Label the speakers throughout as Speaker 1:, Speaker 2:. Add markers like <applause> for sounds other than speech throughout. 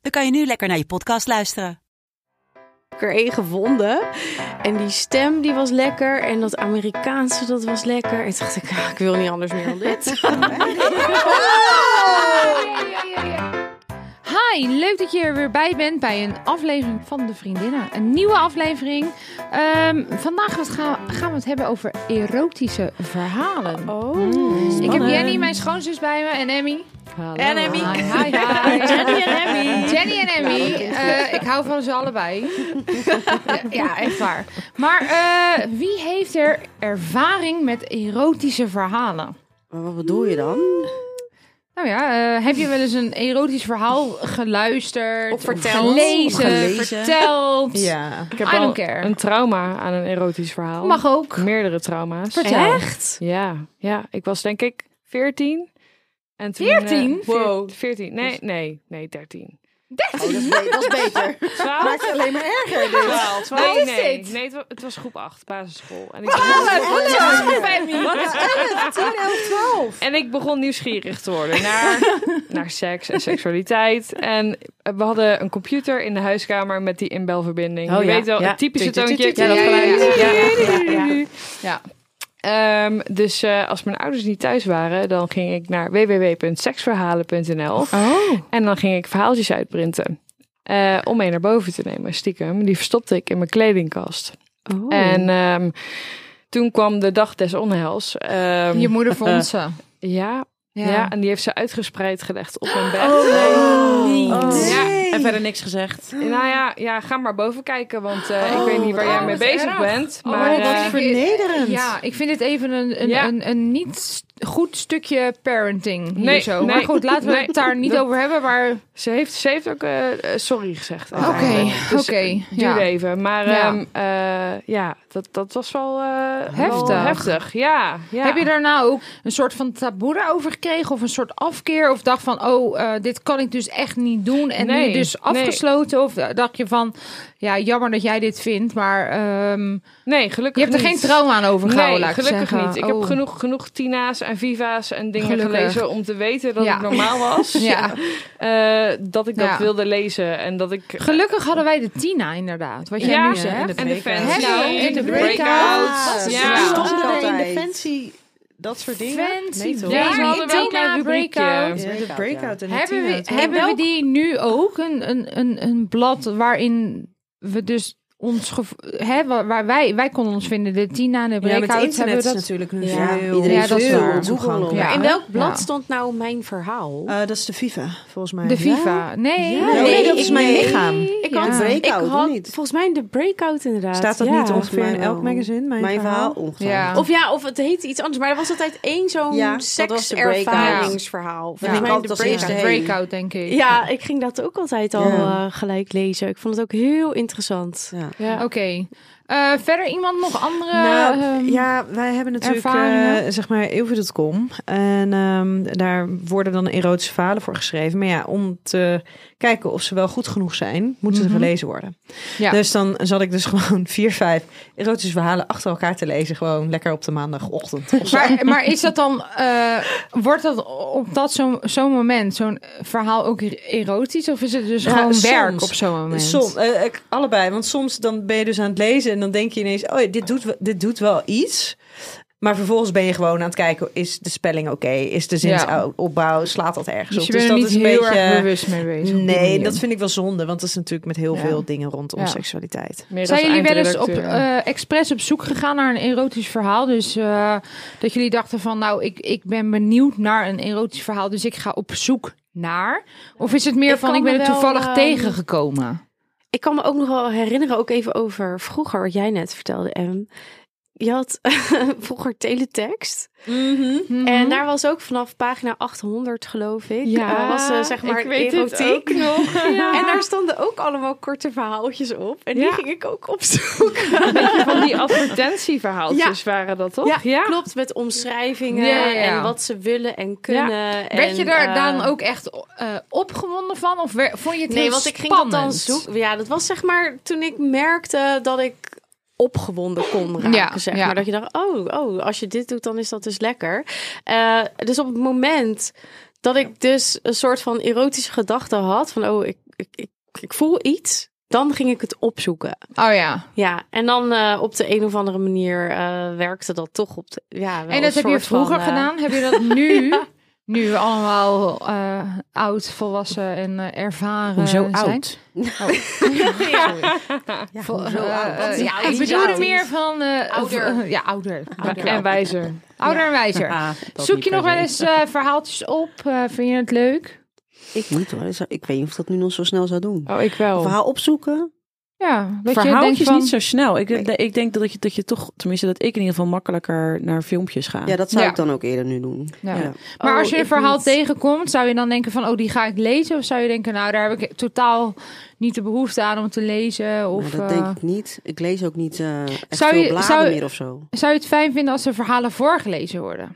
Speaker 1: dan kan je nu lekker naar je podcast luisteren.
Speaker 2: Ik er één gevonden. En die stem die was lekker. En dat Amerikaanse dat was lekker. En toen dacht ik, <laughs> ah, ik wil niet anders meer dan
Speaker 3: <laughs>
Speaker 2: dit.
Speaker 4: Hi, leuk dat je er weer bij bent bij een aflevering van De Vriendinnen. Een nieuwe aflevering. Ehm, vandaag wat gaan, gaan we het hebben over erotische verhalen.
Speaker 2: Oh,
Speaker 4: Ik heb Jenny, mijn schoonzus, bij me en Emmy.
Speaker 2: En Emmy.
Speaker 4: Hi, hi, hi.
Speaker 2: Jenny en Emmy.
Speaker 4: Jenny en Emmy. Eh, ik hou van ze allebei. ja, echt waar. Maar eh, wie heeft er ervaring met erotische verhalen?
Speaker 5: Maar wat bedoel je dan?
Speaker 4: Nou ja, eh, heb je wel eens een erotisch verhaal geluisterd?
Speaker 2: Of verteld.
Speaker 4: Gelezen,
Speaker 5: Gelezen.
Speaker 4: verteld.
Speaker 6: Ja, ik heb
Speaker 4: I don't
Speaker 6: al
Speaker 4: care.
Speaker 6: een trauma aan een erotisch verhaal.
Speaker 4: Mag ook.
Speaker 6: Meerdere trauma's.
Speaker 4: Vertel.
Speaker 2: Echt?
Speaker 6: Ja, ja, ik was denk ik 14. En toen,
Speaker 4: 14?
Speaker 6: eh, veer-
Speaker 2: Wow.
Speaker 6: 14. Nee, nee, nee, 13.
Speaker 5: Oh, dat, is be- dat is beter.
Speaker 6: <laughs> 12?
Speaker 5: Maakt het alleen maar erger. dit.
Speaker 6: 12.
Speaker 4: Wat
Speaker 6: Nee,
Speaker 4: is
Speaker 6: nee,
Speaker 4: dit?
Speaker 6: nee, het wa- het was groep 8, basisschool. En ik,
Speaker 4: Wat is dat voor family?
Speaker 6: en ik begon nieuwsgierig te worden
Speaker 5: <laughs>
Speaker 6: naar, naar seks en seksualiteit. En we hadden een computer in de huiskamer met die inbelverbinding.
Speaker 5: Oh,
Speaker 6: je
Speaker 5: ja,
Speaker 6: weet wel,
Speaker 5: ja.
Speaker 6: het typische
Speaker 5: Tut, tut, tut,
Speaker 6: toontje.
Speaker 5: tut, tut. Ja, dat
Speaker 4: geluid.
Speaker 5: Ja, ja, ja.
Speaker 6: Ja. Ehm, dus eh, als mijn ouders niet thuis waren, dan ging ik naar www.seksverhalen.nl
Speaker 4: Oh.
Speaker 6: en dan ging ik verhaaltjes uitprinten. Eh, om mee naar boven te nemen, stiekem. Die verstopte ik in mijn kledingkast.
Speaker 4: Oh.
Speaker 6: En ehm, toen kwam de dag des onheils. Ehm,
Speaker 4: Je moeder vond ze.
Speaker 6: ja, ja. en die heeft ze uitgespreid gelegd op Oh, mijn
Speaker 4: Oh,
Speaker 6: bed. Oh,
Speaker 5: Nee.
Speaker 3: En verder niks gezegd.
Speaker 6: Nou ja, ja, ga maar boven kijken, want eh, ik weet niet waar jij
Speaker 4: oh,
Speaker 6: mee
Speaker 4: wat
Speaker 6: bezig
Speaker 4: erg.
Speaker 6: bent.
Speaker 4: Oh,
Speaker 6: Maar,
Speaker 4: wat
Speaker 6: eh,
Speaker 4: ik-
Speaker 5: vernederend.
Speaker 4: Ja, ik vind het even een, een,
Speaker 6: Ja.
Speaker 4: een, een niet s- goed stukje parenting. Nee,
Speaker 6: Nee,
Speaker 4: zo.
Speaker 6: nee.
Speaker 4: Maar goed, laten we
Speaker 6: Nee.
Speaker 4: het daar niet
Speaker 6: Dat-
Speaker 4: over hebben. Maar oké,
Speaker 6: Ze heeft, ze heeft ook eh, eh, sorry gezegd.
Speaker 4: oké.
Speaker 6: uiteindelijk. Dus het
Speaker 4: ja.
Speaker 6: Duurde even. Maar
Speaker 4: Ja.
Speaker 6: ja, ja dat, dat was wel, eh,
Speaker 4: Heftig.
Speaker 6: wel heftig. Ja, ja.
Speaker 4: Heb je daarna ook een soort van taboe over gekregen? Of een soort afkeer? Of dacht van, oh, eh, dit kan ik dus echt niet doen. En
Speaker 6: Nee,
Speaker 4: nu dus
Speaker 6: nee.
Speaker 4: afgesloten? Of dacht je van, ja, jammer dat jij dit vindt. Maar ehm,
Speaker 6: Nee, gelukkig
Speaker 4: je hebt er geen
Speaker 6: niet.
Speaker 4: trauma aan overgehouden,
Speaker 6: Nee,
Speaker 4: laat ik
Speaker 6: gelukkig
Speaker 4: zeggen.
Speaker 6: niet. Ik
Speaker 4: Oh.
Speaker 6: heb genoeg, genoeg Tina's en Viva's en dingen
Speaker 4: Gelukkig.
Speaker 6: gelezen om te weten dat
Speaker 4: Ja.
Speaker 6: het normaal was.
Speaker 4: <laughs> Ja.
Speaker 6: Eh, dat ik dat
Speaker 4: Ja.
Speaker 6: wilde lezen en dat ik...
Speaker 4: Gelukkig hadden wij de Tina inderdaad. Wat jij
Speaker 6: Ja,
Speaker 4: nu
Speaker 6: ja,
Speaker 4: zegt.
Speaker 6: en de
Speaker 4: Hello,
Speaker 5: eh,
Speaker 6: fans. Nou,
Speaker 4: in de
Speaker 5: Dat
Speaker 4: breakouts.
Speaker 5: is
Speaker 6: Ja.
Speaker 5: Stonden er in
Speaker 3: Altijd.
Speaker 5: de fancy dat soort dingen?
Speaker 4: Fancy
Speaker 3: Nee, toch?
Speaker 6: Ja,
Speaker 4: days.
Speaker 6: ze hadden wel een
Speaker 4: Tina
Speaker 6: klein rubriekje.
Speaker 4: breakout.
Speaker 3: Ja, de breakout en de
Speaker 4: Hebben we,
Speaker 3: teen-out.
Speaker 4: hebben we die nu ook? Een, een, een, een blad waarin we dus ons gevo- hè, waar, waar wij, wij konden ons vinden, de Tina en de
Speaker 3: Ja, met
Speaker 4: breakout
Speaker 3: internet is
Speaker 4: hebben we dat.
Speaker 3: natuurlijk nu
Speaker 5: Ja,
Speaker 3: veel.
Speaker 5: iedereen
Speaker 4: Ja, dat is
Speaker 3: veel
Speaker 4: waar.
Speaker 3: toegankelijk.
Speaker 4: Ja.
Speaker 2: In welk blad
Speaker 4: Ja.
Speaker 2: stond nou mijn verhaal?
Speaker 3: Eh, dat is de FIFA, volgens mij.
Speaker 4: De FIFA. Nee,
Speaker 3: Ja.
Speaker 5: Nee,
Speaker 4: nee.
Speaker 5: dat is mijn lichaam.
Speaker 2: Ik
Speaker 4: Ja.
Speaker 2: had,
Speaker 3: Breakout,
Speaker 2: ik had
Speaker 3: of niet?
Speaker 2: volgens mij de breakout inderdaad.
Speaker 3: Staat dat
Speaker 2: Ja,
Speaker 3: niet ongeveer
Speaker 5: volgens
Speaker 3: in
Speaker 5: mij
Speaker 3: elk
Speaker 5: wel.
Speaker 3: magazine? Mijn,
Speaker 5: Mijn verhaal
Speaker 4: Ja.
Speaker 5: ongetwijfeld.
Speaker 2: Of ja, of het heet iets anders. Maar er was altijd één zo'n
Speaker 3: Ja, dat was de breakout.
Speaker 2: sekservaringsverhaal.
Speaker 4: Ja.
Speaker 2: Volgens mij
Speaker 3: Ik
Speaker 2: de
Speaker 3: had het als
Speaker 2: breakout.
Speaker 3: eerste.
Speaker 4: Ja, breakout, denk ik.
Speaker 2: Ja, ik ging dat ook altijd al eh,
Speaker 3: Ja.
Speaker 2: gelijk lezen. Ik vond het ook heel interessant.
Speaker 3: Ja.
Speaker 4: Oké. Eh, verder iemand nog andere?
Speaker 3: Nou,
Speaker 4: ehm,
Speaker 3: ja, wij hebben natuurlijk
Speaker 4: ervaringen?
Speaker 3: eh zeg maar eeuwig.com. En ehm, daar worden dan erotische verhalen voor geschreven. Maar ja, om te kijken of ze wel goed genoeg zijn, moeten
Speaker 4: Mhm.
Speaker 3: ze gelezen worden.
Speaker 4: Ja.
Speaker 3: Dus dan zat ik dus <laughs> gewoon vier, vijf erotische verhalen achter elkaar te lezen. Gewoon lekker op de maandagochtend. of zo.
Speaker 4: Maar, maar is dat dan, eh, wordt dat op dat zo'n zo'n moment, zo'n verhaal ook erotisch? Of is het dus
Speaker 3: Ja,
Speaker 4: gewoon werk
Speaker 3: Nou, soms.
Speaker 4: op zo'n moment?
Speaker 3: Som, eh, ik- allebei, want soms dan ben je dus aan het lezen en dan denk je ineens, oh, dit doet, we- dit doet wel iets. Maar vervolgens ben je gewoon aan het kijken, is de spelling oké? Is de zinsopbouw, slaat dat ergens
Speaker 4: Dus
Speaker 3: op?
Speaker 4: je bent er
Speaker 3: dat
Speaker 4: niet
Speaker 3: is een
Speaker 4: heel
Speaker 3: beetje-
Speaker 4: erg bewust mee bezig. op die
Speaker 3: Nee,
Speaker 4: manier.
Speaker 3: dat vind ik wel zonde, want dat is natuurlijk met heel
Speaker 4: Ja.
Speaker 3: veel dingen rondom
Speaker 4: Ja.
Speaker 3: seksualiteit.
Speaker 6: Meer
Speaker 4: Zijn
Speaker 6: als
Speaker 4: jullie wel eens op,
Speaker 6: eindredacteur.
Speaker 4: eh, expres op zoek gegaan naar een erotisch verhaal? Dus eh, dat jullie dachten van, nou, ik, ik ben benieuwd naar een erotisch verhaal, dus ik ga op zoek naar. Of is het meer
Speaker 2: Ik
Speaker 4: van,
Speaker 2: kan
Speaker 4: ik ben
Speaker 2: me
Speaker 4: het
Speaker 2: wel,
Speaker 4: toevallig
Speaker 2: ehm,
Speaker 4: tegengekomen?
Speaker 2: Ik kan me ook nog wel herinneren, ook even over vroeger, wat jij net vertelde, Em. je had <laughs> vroeger teletext.
Speaker 3: Mhm.
Speaker 2: En daar was ook vanaf pagina 800, geloof ik.
Speaker 6: Mhm. Ja,
Speaker 2: eh, was eh, zeg maar
Speaker 6: ik weet het
Speaker 2: erotiek.
Speaker 6: ook nog. Ja.
Speaker 2: <laughs> En daar stonden ook allemaal korte verhaaltjes op. En
Speaker 6: Ja.
Speaker 2: die ging ik ook opzoeken.
Speaker 6: <laughs> Van die advertentieverhaaltjes waren dat toch?
Speaker 2: klopt. Met omschrijvingen
Speaker 4: Ja, ja, ja.
Speaker 2: en wat ze willen en kunnen. En,
Speaker 4: Werd je
Speaker 2: eh,
Speaker 4: daar dan ook echt eh, opgewonden van? Of wer- vond je het
Speaker 2: Nee,
Speaker 4: heel
Speaker 2: want ik ging dat
Speaker 4: spannend?
Speaker 2: dan zoeken. Ja, dat was zeg maar toen ik merkte dat ik opgewonden kon raken,
Speaker 4: Ja,
Speaker 2: zeg
Speaker 4: ja.
Speaker 2: maar. Dat je dacht, oh, oh, als je dit doet, dan is dat dus lekker. Eh, dus op het moment dat ik dus een soort van erotische gedachte had... van, oh, ik, ik, ik, ik voel iets, dan ging ik het opzoeken.
Speaker 4: Oh ja.
Speaker 2: Ja, en dan eh, op de een of andere manier eh, werkte dat toch op de... Ja, wel
Speaker 4: En dat
Speaker 2: een
Speaker 4: heb je
Speaker 2: soort van,
Speaker 4: vroeger
Speaker 2: eh,
Speaker 4: gedaan? Heb je
Speaker 2: <laughs>
Speaker 4: dat nu? Nu allemaal eh, oud, volwassen en eh, ervaren
Speaker 3: Hoezo
Speaker 4: zijn? Oh.
Speaker 3: oud?
Speaker 2: <laughs>
Speaker 4: Ja,
Speaker 5: hoezo oud? Wat is
Speaker 4: eh, ja,
Speaker 5: oud?
Speaker 4: ik bedoelde
Speaker 5: Ja.
Speaker 4: meer van... eh,
Speaker 5: Ouder.
Speaker 4: v- ja, ouder.
Speaker 6: En wijzer.
Speaker 4: Ouder en wijzer.
Speaker 5: Ah,
Speaker 4: Zoek je nog wel eens eh, verhaaltjes op? Eh, vind je het leuk?
Speaker 5: Ik niet hoor. Dus Ik weet niet of ik dat nu nog zo snel zou doen.
Speaker 6: Oh, ik wel.
Speaker 5: Verhaal opzoeken.
Speaker 4: Ja, dat je denkt
Speaker 7: Verhaaltjes
Speaker 4: van...
Speaker 7: niet zo snel. Ik, ik denk dat je, dat je toch, tenminste dat ik in ieder geval makkelijker naar filmpjes ga.
Speaker 5: Ja, dat zou
Speaker 4: Ja.
Speaker 5: ik dan ook eerder nu doen.
Speaker 4: Ja.
Speaker 5: Ja.
Speaker 4: Maar
Speaker 2: Oh,
Speaker 4: als je een
Speaker 2: ik
Speaker 4: verhaal
Speaker 2: niet.
Speaker 4: tegenkomt, zou je dan denken van... oh, die ga ik lezen? Of zou je denken, nou, daar heb ik totaal niet de behoefte aan om te lezen? Of
Speaker 5: Maar Nou, dat
Speaker 4: eh,
Speaker 5: denk ik niet. Ik lees ook niet eh echt
Speaker 4: Zou
Speaker 5: veel
Speaker 4: je-
Speaker 5: bladen
Speaker 4: zou-
Speaker 5: meer of zo.
Speaker 4: zou je het fijn vinden als er verhalen voorgelezen worden?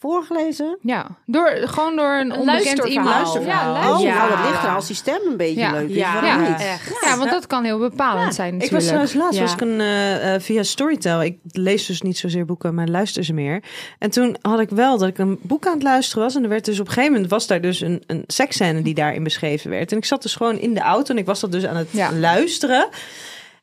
Speaker 5: Voorgelezen?
Speaker 4: Ja, door, gewoon door een onbekend
Speaker 2: luisterverhaal.
Speaker 4: iemand.
Speaker 5: Luisterverhaal.
Speaker 4: Ja,
Speaker 5: Oh,
Speaker 4: luisterverhaal.
Speaker 5: nou, dat ligt er als die stem een beetje
Speaker 4: Ja.
Speaker 5: leuk is.
Speaker 2: Dus Ja.
Speaker 5: waarom
Speaker 4: Ja.
Speaker 5: niet?
Speaker 2: Echt.
Speaker 4: Ja, want dat kan heel bepalend zijn
Speaker 3: Ik
Speaker 4: natuurlijk.
Speaker 3: was trouwens laatst
Speaker 2: Ja.
Speaker 3: was ik een, eh, eh, via Storytel. Ik lees dus niet zozeer boeken, maar luister ze meer. En toen had ik wel dat ik een boek aan het luisteren was. En er werd dus op een gegeven moment was daar dus een, een seksscène die daarin beschreven werd. En ik zat dus gewoon in de auto en ik was dat dus aan het
Speaker 4: Ja.
Speaker 3: luisteren.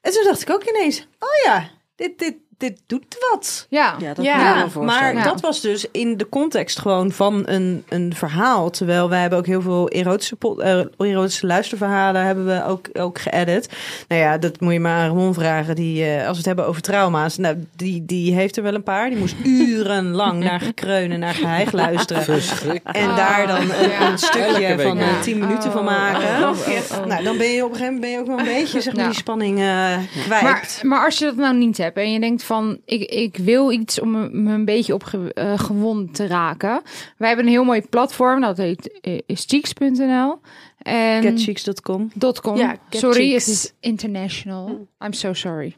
Speaker 3: En toen dacht ik ook ineens, oh ja, dit, dit, dit doet wat.
Speaker 4: ja.
Speaker 5: Ja, dat
Speaker 2: Ja,
Speaker 5: kan ik me wel
Speaker 3: Maar
Speaker 5: voorstellen.
Speaker 4: Ja.
Speaker 3: dat was dus in de context gewoon van een, een verhaal. Terwijl wij hebben ook heel veel erotische, pod- eh, erotische luisterverhalen hebben we ook, ook geëdit. Nou ja, dat moet je maar aan Ramon vragen. Die, eh, als we het hebben over trauma's. Nou, die, die heeft er wel een
Speaker 4: <laughs>
Speaker 3: paar. Die moest urenlang naar gekreun en naar geheig luisteren. En daar dan een,
Speaker 4: Ja.
Speaker 3: een stukje
Speaker 8: week.
Speaker 3: van
Speaker 4: Ja.
Speaker 3: eh, 10 minuten van
Speaker 4: Oh.
Speaker 3: maken.
Speaker 4: Oh, oh, oh.
Speaker 3: Nou, dan ben je op een gegeven moment ben je ook wel een beetje zeg maar,
Speaker 4: Ja.
Speaker 3: die spanning eh kwijt.
Speaker 4: Maar, maar als je dat nou niet hebt en je denkt van ik, ik wil iets om me- me een beetje opgewond te raken. Wij hebben een heel mooi platform, dat heet eh, is cheeks.nl. En
Speaker 3: Catcheeks.com.
Speaker 4: .com.
Speaker 2: Ja, Get Mm.
Speaker 4: sorry,
Speaker 2: Cheeks.
Speaker 4: het is international. I'm so sorry.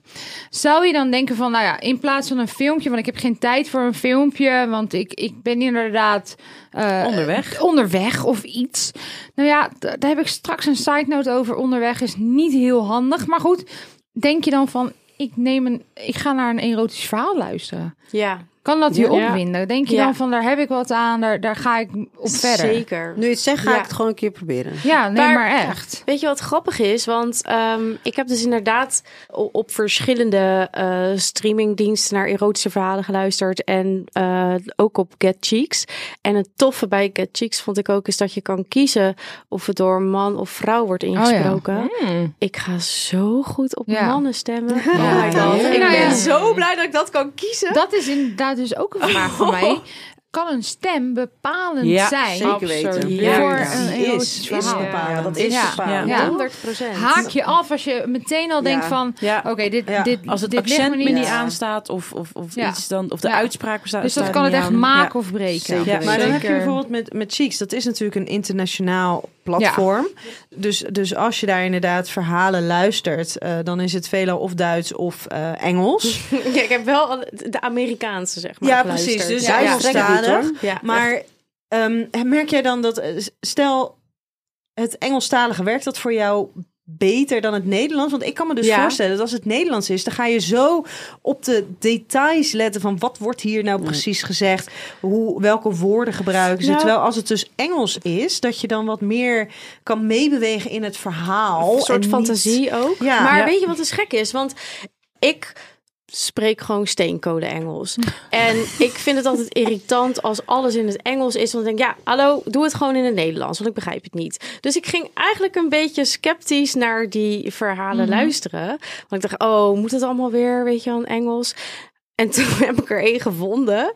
Speaker 4: Zou je dan denken van, nou ja, in plaats van een filmpje, want ik heb geen tijd voor een filmpje, want ik, ik ben inderdaad eh,
Speaker 7: Onderweg.
Speaker 4: onderweg of iets. Nou ja, d- daar heb ik straks een side note over. Onderweg is niet heel handig, maar goed. Denk je dan van, ik neem een, ik ga naar een erotisch verhaal luisteren.
Speaker 2: Ja,
Speaker 4: Kan dat je
Speaker 6: Ja.
Speaker 4: opwinden? Denk je
Speaker 2: Ja.
Speaker 4: dan van, daar heb ik wat aan, daar, daar ga ik op verder.
Speaker 2: zeker.
Speaker 5: Nu je het zegt, ga
Speaker 2: Ja.
Speaker 5: ik het gewoon een keer proberen.
Speaker 4: Ja, nee, maar,
Speaker 2: Maar-
Speaker 4: echt.
Speaker 2: Weet je wat grappig is? Want ehm, ik heb dus inderdaad o- op verschillende eh, streamingdiensten naar erotische verhalen geluisterd. En eh, ook op Get Cheeks. En het toffe bij Get Cheeks vond ik ook is dat je kan kiezen of het door man of vrouw wordt ingesproken. Ik ga zo goed op
Speaker 4: Ja.
Speaker 2: mannen stemmen. Oh my
Speaker 4: Ja.
Speaker 2: god.
Speaker 4: Ja.
Speaker 2: Ik
Speaker 4: Nou ja.
Speaker 2: ben zo blij dat ik dat kan kiezen.
Speaker 4: Dat is inderdaad dus ook een vraag voor mij. Kan een stem bepalend
Speaker 7: Ja,
Speaker 4: zijn
Speaker 5: Zeker weten.
Speaker 2: Ja.
Speaker 4: voor
Speaker 5: Ja.
Speaker 4: een
Speaker 3: Die
Speaker 4: erotisch
Speaker 3: is, is
Speaker 4: verhaal?
Speaker 3: bepalend.
Speaker 5: Ja, dat is
Speaker 4: Ja.
Speaker 5: bepaald.
Speaker 4: Ja.
Speaker 2: 100 procent.
Speaker 4: Haak je af als je meteen al denkt van...
Speaker 7: Ja.
Speaker 4: Oké, dit,
Speaker 3: Ja.
Speaker 4: dit,
Speaker 7: Als het
Speaker 4: dit ligt
Speaker 7: accent
Speaker 4: me
Speaker 7: me
Speaker 4: niet
Speaker 7: niet
Speaker 5: Ja.
Speaker 7: aanstaat of, of, of
Speaker 4: Ja.
Speaker 7: iets dan, of de
Speaker 4: Ja.
Speaker 7: uitspraak bestaat.
Speaker 4: Dus dat
Speaker 7: staat
Speaker 4: kan het
Speaker 7: niet
Speaker 4: echt
Speaker 7: aan.
Speaker 4: maken of breken.
Speaker 5: Zeker.
Speaker 7: Ja,
Speaker 3: Maar dan heb je
Speaker 4: Zeker.
Speaker 3: bijvoorbeeld met, met Cheeks, dat is natuurlijk een internationaal platform. Dus, dus als je daar inderdaad verhalen luistert, eh, dan is het veelal of Duits of eh,
Speaker 4: Dus
Speaker 3: Engels.
Speaker 2: Ja, ik heb wel alle- de Amerikaanse, zeg maar.
Speaker 3: Ja,
Speaker 2: geluisterd.
Speaker 3: precies. Dus
Speaker 2: Ja, ja.
Speaker 5: Duits-
Speaker 3: Engelstalig.
Speaker 2: Ja,
Speaker 3: Maar ehm, merk jij dan dat, eh, stel, het Engelstalige werkt dat voor jou beter dan het Nederlands? Want ik kan me dus
Speaker 2: Ja.
Speaker 3: voorstellen dat als het Nederlands is, dan ga je zo op de details letten van wat wordt hier nou precies gezegd, hoe, welke woorden gebruiken ze.
Speaker 2: Nou.
Speaker 3: Terwijl als het dus Engels is, dat je dan wat meer kan meebewegen in het verhaal.
Speaker 2: Een soort
Speaker 3: en niet-
Speaker 2: fantasie ook.
Speaker 3: Ja.
Speaker 2: maar
Speaker 3: Ja.
Speaker 2: weet je wat dus gek is? Want ik spreek gewoon steencode Engels. En
Speaker 3: <laughs>
Speaker 2: ik vind het altijd irritant als alles in het Engels is. Want dan denk ik, ja, hallo, doe het gewoon in het Nederlands. Want ik begrijp het niet. Dus ik ging eigenlijk een beetje sceptisch naar
Speaker 3: Mhm.
Speaker 2: die verhalen luisteren. Want ik dacht, oh, moet het allemaal weer, weet je wel, in Engels? En <laughs> toen heb ik er één gevonden.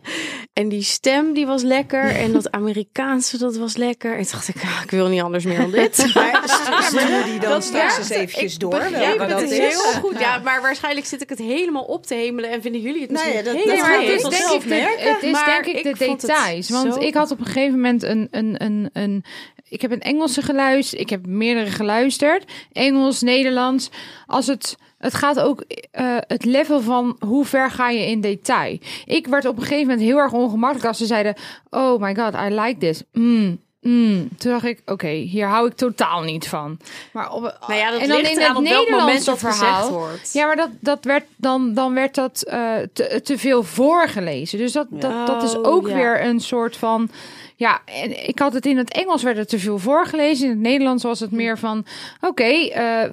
Speaker 2: En die stem die was lekker. En
Speaker 3: <laughs>
Speaker 2: dat Amerikaanse dat was lekker. En toen dacht ik, <laughs> ah, ik wil niet anders meer dan
Speaker 3: <laughs>
Speaker 2: dit.
Speaker 5: Maar sturen die dan
Speaker 2: Dat
Speaker 5: straks
Speaker 2: werkt.
Speaker 5: eens eventjes
Speaker 2: Ik
Speaker 5: door.
Speaker 2: begreep
Speaker 5: welke
Speaker 2: het
Speaker 5: dat
Speaker 2: is heel goed. Ja, maar waarschijnlijk zit ik het helemaal op te hemelen. En vinden jullie het
Speaker 5: Nee,
Speaker 2: misschien
Speaker 5: dat- dat
Speaker 2: helemaal
Speaker 5: gaat
Speaker 4: het is
Speaker 5: wel
Speaker 4: denk
Speaker 5: zelf
Speaker 4: ik de,
Speaker 5: merken,
Speaker 4: het is
Speaker 2: maar
Speaker 4: denk ik
Speaker 2: ik
Speaker 4: de
Speaker 2: vond het
Speaker 4: details. Want
Speaker 2: zo-
Speaker 4: ik had op een gegeven moment een, een, een, een... Ik heb een Engelse geluisterd. Ik heb meerdere geluisterd. Engels, Nederlands. Als het... Het gaat ook eh, het level van hoe ver ga je in detail. Ik werd op een gegeven moment heel erg ongemakkelijk als ze zeiden... Oh my god, I like this. Mm, mm. Toen dacht ik, oké, hier hou ik totaal niet van. Maar op,
Speaker 2: Nou ja, dat
Speaker 4: en dan
Speaker 2: ligt
Speaker 4: in
Speaker 2: eraan
Speaker 4: het
Speaker 2: op welk moment
Speaker 4: Nederlandse
Speaker 2: dat gezegd
Speaker 4: verhaal.
Speaker 2: wordt.
Speaker 4: Ja, maar dat, dat werd dan, dan werd dat eh, te, te veel voorgelezen. Dus dat, dat, dat is
Speaker 2: Oh,
Speaker 4: ook
Speaker 2: ja.
Speaker 4: weer een soort van. Ja, en ik had het in het Engels werd het te veel voorgelezen. In het Nederlands was het meer van: oké, eh,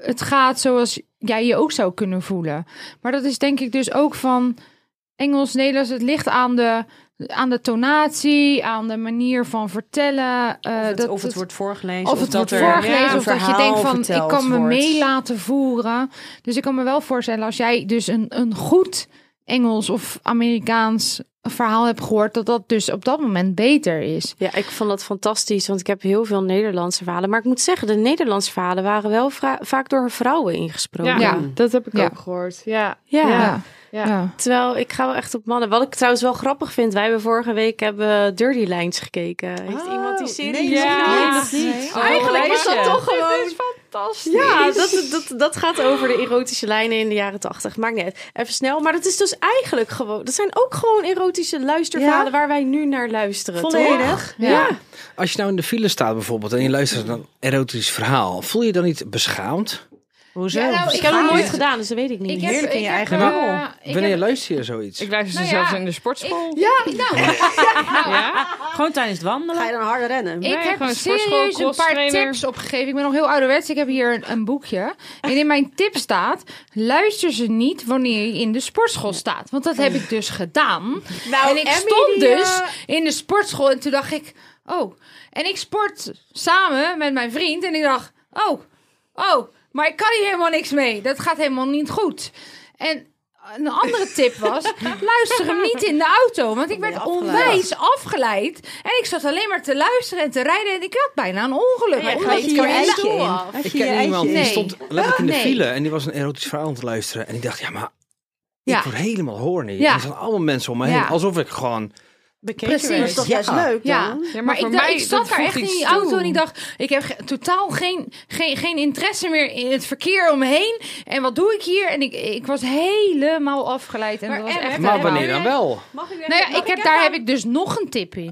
Speaker 4: het gaat zoals jij je ook zou kunnen voelen. Maar dat is denk ik dus ook van Engels, Nederlands. Het ligt aan de, aan de tonatie, aan de manier van vertellen. eh,
Speaker 3: Of het,
Speaker 4: dat,
Speaker 3: of het
Speaker 4: dat-
Speaker 3: wordt voorgelezen.
Speaker 4: of het wordt
Speaker 3: dat er
Speaker 4: voorgelezen,
Speaker 3: een
Speaker 4: of dat je
Speaker 3: verhaal
Speaker 4: denkt van ik
Speaker 3: verteld
Speaker 4: kan me
Speaker 3: wordt.
Speaker 4: mee laten voeren. Dus ik kan me wel voorstellen als jij dus een, een goed Engels of Amerikaans verhaal hebt gehoord, dat dat dus op dat moment beter is.
Speaker 2: Ja, ik vond dat fantastisch, want ik heb heel veel Nederlandse verhalen. Maar ik moet zeggen, de Nederlandse verhalen waren wel vra- vaak door vrouwen ingesproken.
Speaker 6: Ja,
Speaker 4: Ja.
Speaker 6: dat heb ik
Speaker 4: Ja.
Speaker 6: ook gehoord. Ja.
Speaker 2: Ja.
Speaker 4: Ja.
Speaker 6: Ja.
Speaker 4: Ja.
Speaker 2: Terwijl ik ga wel echt op mannen. Wat ik trouwens wel grappig vind, wij hebben vorige week hebben Dirty Lines gekeken. Heeft iemand
Speaker 3: Oh,
Speaker 2: die serie
Speaker 5: nee,
Speaker 2: gezien?
Speaker 6: ja.
Speaker 2: Oh, Nee,
Speaker 6: dat
Speaker 4: niet.
Speaker 2: Eigenlijk is dat
Speaker 6: meisje. <laughs>
Speaker 2: toch gewoon...
Speaker 6: fantastisch.
Speaker 2: Ja, dat, dat, dat gaat over de erotische lijnen in de jaren tachtig. Maakt niet uit. Even snel. Maar dat is dus eigenlijk gewoon... Dat zijn ook gewoon erotische luisterverhalen
Speaker 5: Ja.
Speaker 2: waar wij nu naar luisteren, toch?
Speaker 5: Volledig.
Speaker 4: Ja.
Speaker 8: Als je nou in de file staat bijvoorbeeld en je luistert naar een erotisch verhaal, voel je dan niet beschaamd?
Speaker 5: Hoezo?
Speaker 4: Ja, nou,
Speaker 2: Ik heb het
Speaker 4: Ja.
Speaker 2: nooit gedaan, dus dat weet ik niet.
Speaker 4: Ik heb-
Speaker 5: Heerlijk in je
Speaker 4: ik heb,
Speaker 5: eigen
Speaker 4: eh,
Speaker 5: rol.
Speaker 4: ik
Speaker 8: Wanneer
Speaker 4: heb-
Speaker 8: luister je zoiets?
Speaker 6: Ik luister
Speaker 4: Nou
Speaker 6: zelfs
Speaker 4: ja.
Speaker 6: in de sportschool.
Speaker 4: Ja, nou,
Speaker 6: Ja.
Speaker 9: Gewoon tijdens het wandelen.
Speaker 5: Ga je dan harder rennen?
Speaker 4: Ik
Speaker 6: Nee,
Speaker 4: heb
Speaker 6: gewoon sportschool,
Speaker 4: serieus een paar
Speaker 6: crosstrainer.
Speaker 4: tips opgegeven. Ik ben nog heel ouderwets. Ik heb hier een, een boekje. En in mijn tip staat: luister ze niet wanneer je in de sportschool staat. Want dat heb ik dus gedaan.
Speaker 6: Nou,
Speaker 4: en ik
Speaker 2: Emmy,
Speaker 4: stond
Speaker 2: die,
Speaker 4: dus
Speaker 6: eh,
Speaker 4: in de sportschool en toen dacht ik: oh. En ik sport samen met mijn vriend en ik dacht: oh, oh, maar ik kan hier helemaal niks mee. Dat gaat helemaal niet goed. En een andere tip was: luister hem niet in de auto. Want ik werd onwijs afgeleid. En ik zat alleen maar te luisteren en te rijden. En ik had bijna een ongeluk.
Speaker 2: Ja,
Speaker 4: Maar
Speaker 2: omdat
Speaker 4: omdat
Speaker 2: je
Speaker 4: je
Speaker 2: je
Speaker 4: in de-
Speaker 2: stoel af.
Speaker 5: Heb
Speaker 8: Ik
Speaker 5: je je
Speaker 8: ken iemand die
Speaker 5: eitje?
Speaker 4: Nee. Oh,
Speaker 8: stond letterlijk in de
Speaker 4: Nee.
Speaker 8: file en die was een erotisch verhaal aan het luisteren. En ik dacht, ja, maar
Speaker 4: Ja.
Speaker 8: ik word helemaal horny.
Speaker 4: Ja.
Speaker 8: En er zijn allemaal mensen om me heen.
Speaker 4: Ja.
Speaker 8: Alsof ik gewoon...
Speaker 5: Bekeken
Speaker 4: Precies.
Speaker 5: werd. Dat is toch juist leuk dan?
Speaker 4: Ja,
Speaker 6: Ja, maar
Speaker 4: maar,
Speaker 6: voor
Speaker 4: ik, dacht-
Speaker 6: mij,
Speaker 4: ik
Speaker 6: dat
Speaker 4: zat daar
Speaker 6: voegt
Speaker 4: echt in
Speaker 6: iets
Speaker 4: die
Speaker 6: toe.
Speaker 4: auto en ik dacht, ik heb ge- totaal geen, geen, geen interesse meer in het verkeer om me heen. En wat doe ik hier? En ik, ik was helemaal afgeleid. En
Speaker 6: Maar
Speaker 4: dat was
Speaker 6: echt,
Speaker 4: echt
Speaker 8: Maar
Speaker 4: helemaal-
Speaker 8: wanneer dan wel?
Speaker 4: Nou ja, ik heb, daar heb ik dus nog een tip in.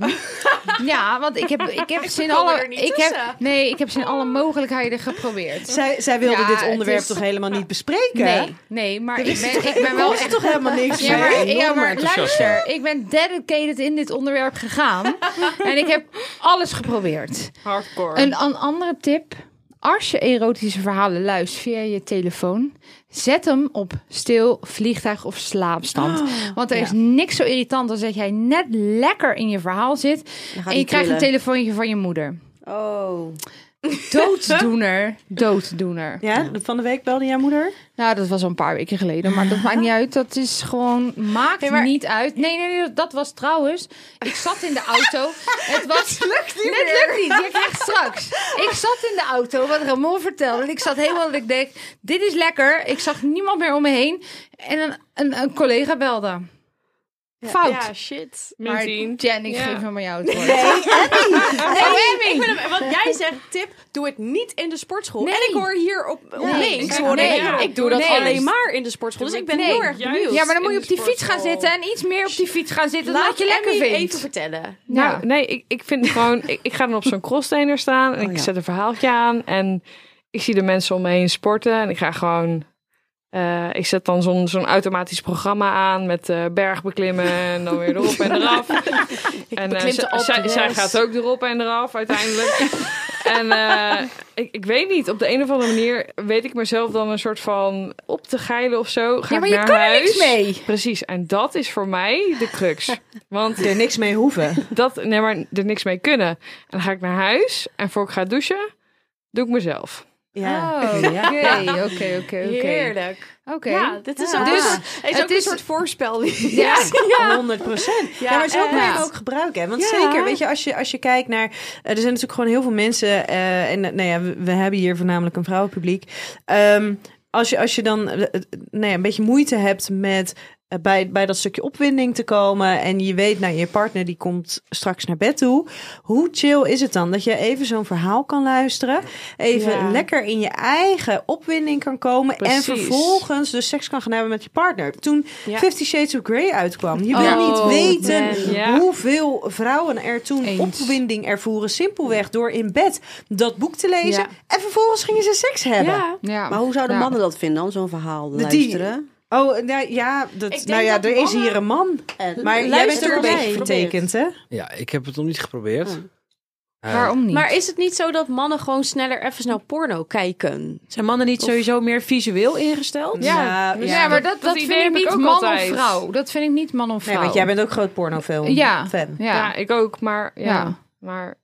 Speaker 4: ja, want ik heb, ik heb zin alle. Ik heb, nee, ik heb zin alle mogelijkheden geprobeerd.
Speaker 3: Zij, zij wilde
Speaker 4: Ja,
Speaker 3: dit
Speaker 4: het
Speaker 3: onderwerp
Speaker 4: is- Ah.
Speaker 3: toch helemaal niet bespreken?
Speaker 4: Nee, nee, maar ik ben, ik ben wel
Speaker 3: is
Speaker 4: echt.
Speaker 3: toch helemaal niks
Speaker 4: Ja, maar,
Speaker 3: mee?
Speaker 4: ja, maar
Speaker 8: enthousiast,
Speaker 4: luister, ik ben dedicated in dit onderwerp
Speaker 5: <laughs>
Speaker 4: gegaan. en ik heb alles geprobeerd.
Speaker 6: Hardcore.
Speaker 4: Een, een andere tip. Als je erotische verhalen luistert via je telefoon, zet hem op stil, vliegtuig of slaapstand.
Speaker 5: Oh,
Speaker 4: Want er is niks zo irritant als dat jij net lekker in je verhaal zit
Speaker 5: Dan gaat
Speaker 4: en
Speaker 5: die
Speaker 4: je krijgt een
Speaker 5: trillen.
Speaker 4: telefoontje van je moeder.
Speaker 5: Oh.
Speaker 4: Dooddoener, dooddoener.
Speaker 3: Ja, van de week belde jouw moeder.
Speaker 4: Nou, dat was al een paar weken geleden, maar dat maakt niet uit. Dat is gewoon, maakt niet uit. Nee, nee, nee, dat was trouwens. Ik zat in de auto.
Speaker 2: <laughs>
Speaker 4: Het was. lukt niet. Het lukt niet. Je krijgt straks. Ik zat in de auto, wat Ramon vertelde. En ik zat helemaal, dat ik denk, dit is lekker. Ik zag niemand meer om me heen. En een, een, een collega belde. Fout.
Speaker 2: Ja, shit.
Speaker 6: Min
Speaker 4: maar
Speaker 6: tien.
Speaker 4: Jen, ik
Speaker 6: Ja.
Speaker 4: geef hem aan jou het woord.
Speaker 2: Ik ben hem- want jij zegt, tip, doe het niet in de sportschool.
Speaker 4: Nee.
Speaker 2: En ik hoor hier op, op
Speaker 4: Nee.
Speaker 2: links,
Speaker 4: Kijk,
Speaker 2: hoor
Speaker 4: nee.
Speaker 2: ik, ja, ik doe dat
Speaker 4: Nee.
Speaker 2: alleen maar in de sportschool. Dus ik ben
Speaker 4: Nee.
Speaker 2: heel erg
Speaker 6: Juist.
Speaker 2: benieuwd.
Speaker 4: Ja, maar dan moet je
Speaker 6: in
Speaker 4: op
Speaker 6: de
Speaker 4: die fiets gaan
Speaker 6: sportschool.
Speaker 4: zitten en iets meer op die fiets gaan zitten.
Speaker 2: Laat
Speaker 4: dat je lekker
Speaker 2: Emmy
Speaker 4: vindt.
Speaker 2: even vertellen.
Speaker 4: Ja.
Speaker 6: Nou, nee, ik, ik vind gewoon... Ik, ik ga dan op
Speaker 2: <laughs>
Speaker 6: zo'n crosstrainer staan en ik
Speaker 2: Oh
Speaker 6: zet een verhaaltje aan. En ik zie de mensen om me heen sporten. En ik ga gewoon... eh, ik zet dan zo'n zo'n automatisch programma aan met eh bergbeklimmen en dan weer erop en
Speaker 4: <laughs>
Speaker 6: eraf. en eh,
Speaker 2: beklim
Speaker 6: z-
Speaker 2: de Alpe
Speaker 6: zij- zij
Speaker 2: d'Huez.
Speaker 6: gaat ook erop en eraf
Speaker 4: <laughs>
Speaker 6: uiteindelijk. en eh, ik, ik weet niet, op de een of andere manier weet ik mezelf dan een soort van op te geilen of zo. Ga
Speaker 4: Ja, maar
Speaker 6: ik
Speaker 4: je
Speaker 6: naar
Speaker 4: kan er
Speaker 6: huis.
Speaker 4: niks mee.
Speaker 6: Precies, en dat is voor mij de
Speaker 4: <laughs>
Speaker 6: crux. Want
Speaker 3: Er niks mee hoeven.
Speaker 6: <laughs> dat, nee, maar er niks mee kunnen. En dan ga ik naar huis en voor ik ga douchen, doe ik mezelf.
Speaker 3: <laughs>
Speaker 5: Ja.
Speaker 4: Oh, oké, oké, oké, oké.
Speaker 2: Heerlijk.
Speaker 4: Oké.
Speaker 2: Ja, dit is
Speaker 5: Ja.
Speaker 2: ook,
Speaker 4: Dus
Speaker 2: dus, is ook
Speaker 4: het is-
Speaker 2: een soort voorspel.
Speaker 4: Ja.
Speaker 3: 100 procent. Ja, maar zo
Speaker 2: echt.
Speaker 3: kun je hem ook gebruiken. hè. Want
Speaker 4: Ja.
Speaker 3: zeker, weet je, als je, als je kijkt naar... eh, Er zijn natuurlijk gewoon heel veel mensen... eh, en eh, nou ja, we, we hebben hier voornamelijk een vrouwenpubliek. Ehm, als, je, als je dan eh, eh, nou ja, een beetje moeite hebt met... eh, Bij, bij dat stukje opwinding te komen en je weet, nou, je partner die komt straks naar bed toe. Hoe chill is het dan dat je even zo'n verhaal kan luisteren, even
Speaker 2: Ja.
Speaker 3: lekker in je eigen opwinding kan komen en
Speaker 6: Precies.
Speaker 3: vervolgens dus seks kan gaan hebben met je partner. Toen
Speaker 2: Ja.
Speaker 3: Fifty Shades of Grey uitkwam, je wil
Speaker 4: Oh,
Speaker 3: niet weten
Speaker 2: man.
Speaker 6: Ja.
Speaker 3: hoeveel vrouwen er toen
Speaker 4: Eens.
Speaker 3: opwinding ervoeren. Simpelweg door in bed dat boek te lezen.
Speaker 2: Ja.
Speaker 3: En vervolgens gingen ze seks hebben.
Speaker 2: Ja.
Speaker 4: Ja.
Speaker 5: Maar hoe zouden
Speaker 4: Ja.
Speaker 5: mannen dat vinden dan, zo'n verhaal
Speaker 3: Die-
Speaker 5: luisteren?
Speaker 3: Oh, nou ja, dat,
Speaker 2: denk
Speaker 3: nou ja
Speaker 2: dat
Speaker 3: er is
Speaker 2: mannen-
Speaker 3: hier een man.
Speaker 5: En-
Speaker 3: Maar jij bent
Speaker 5: Luister
Speaker 3: ook een
Speaker 5: jij.
Speaker 3: beetje vertekend, hè?
Speaker 8: Ja, ik heb het nog niet geprobeerd.
Speaker 5: Oh.
Speaker 8: Eh,
Speaker 4: Hmm. Waarom niet?
Speaker 2: Maar is het niet zo dat mannen gewoon sneller even snel porno kijken?
Speaker 7: Zijn mannen niet sowieso meer visueel ingesteld?
Speaker 3: Nou,
Speaker 4: ja, dus maar dat, dat,
Speaker 6: dat idee
Speaker 4: vind ik
Speaker 6: heb ik
Speaker 4: niet
Speaker 6: ook
Speaker 4: man
Speaker 6: altijd.
Speaker 4: of vrouw. Dat vind ik niet man of vrouw.
Speaker 3: Nee, want jij bent ook groot pornofilm
Speaker 4: Ja.
Speaker 3: fan.
Speaker 4: Ja.
Speaker 6: Ja. ik ook, maar ja.
Speaker 4: Ja.
Speaker 6: Maar, maar,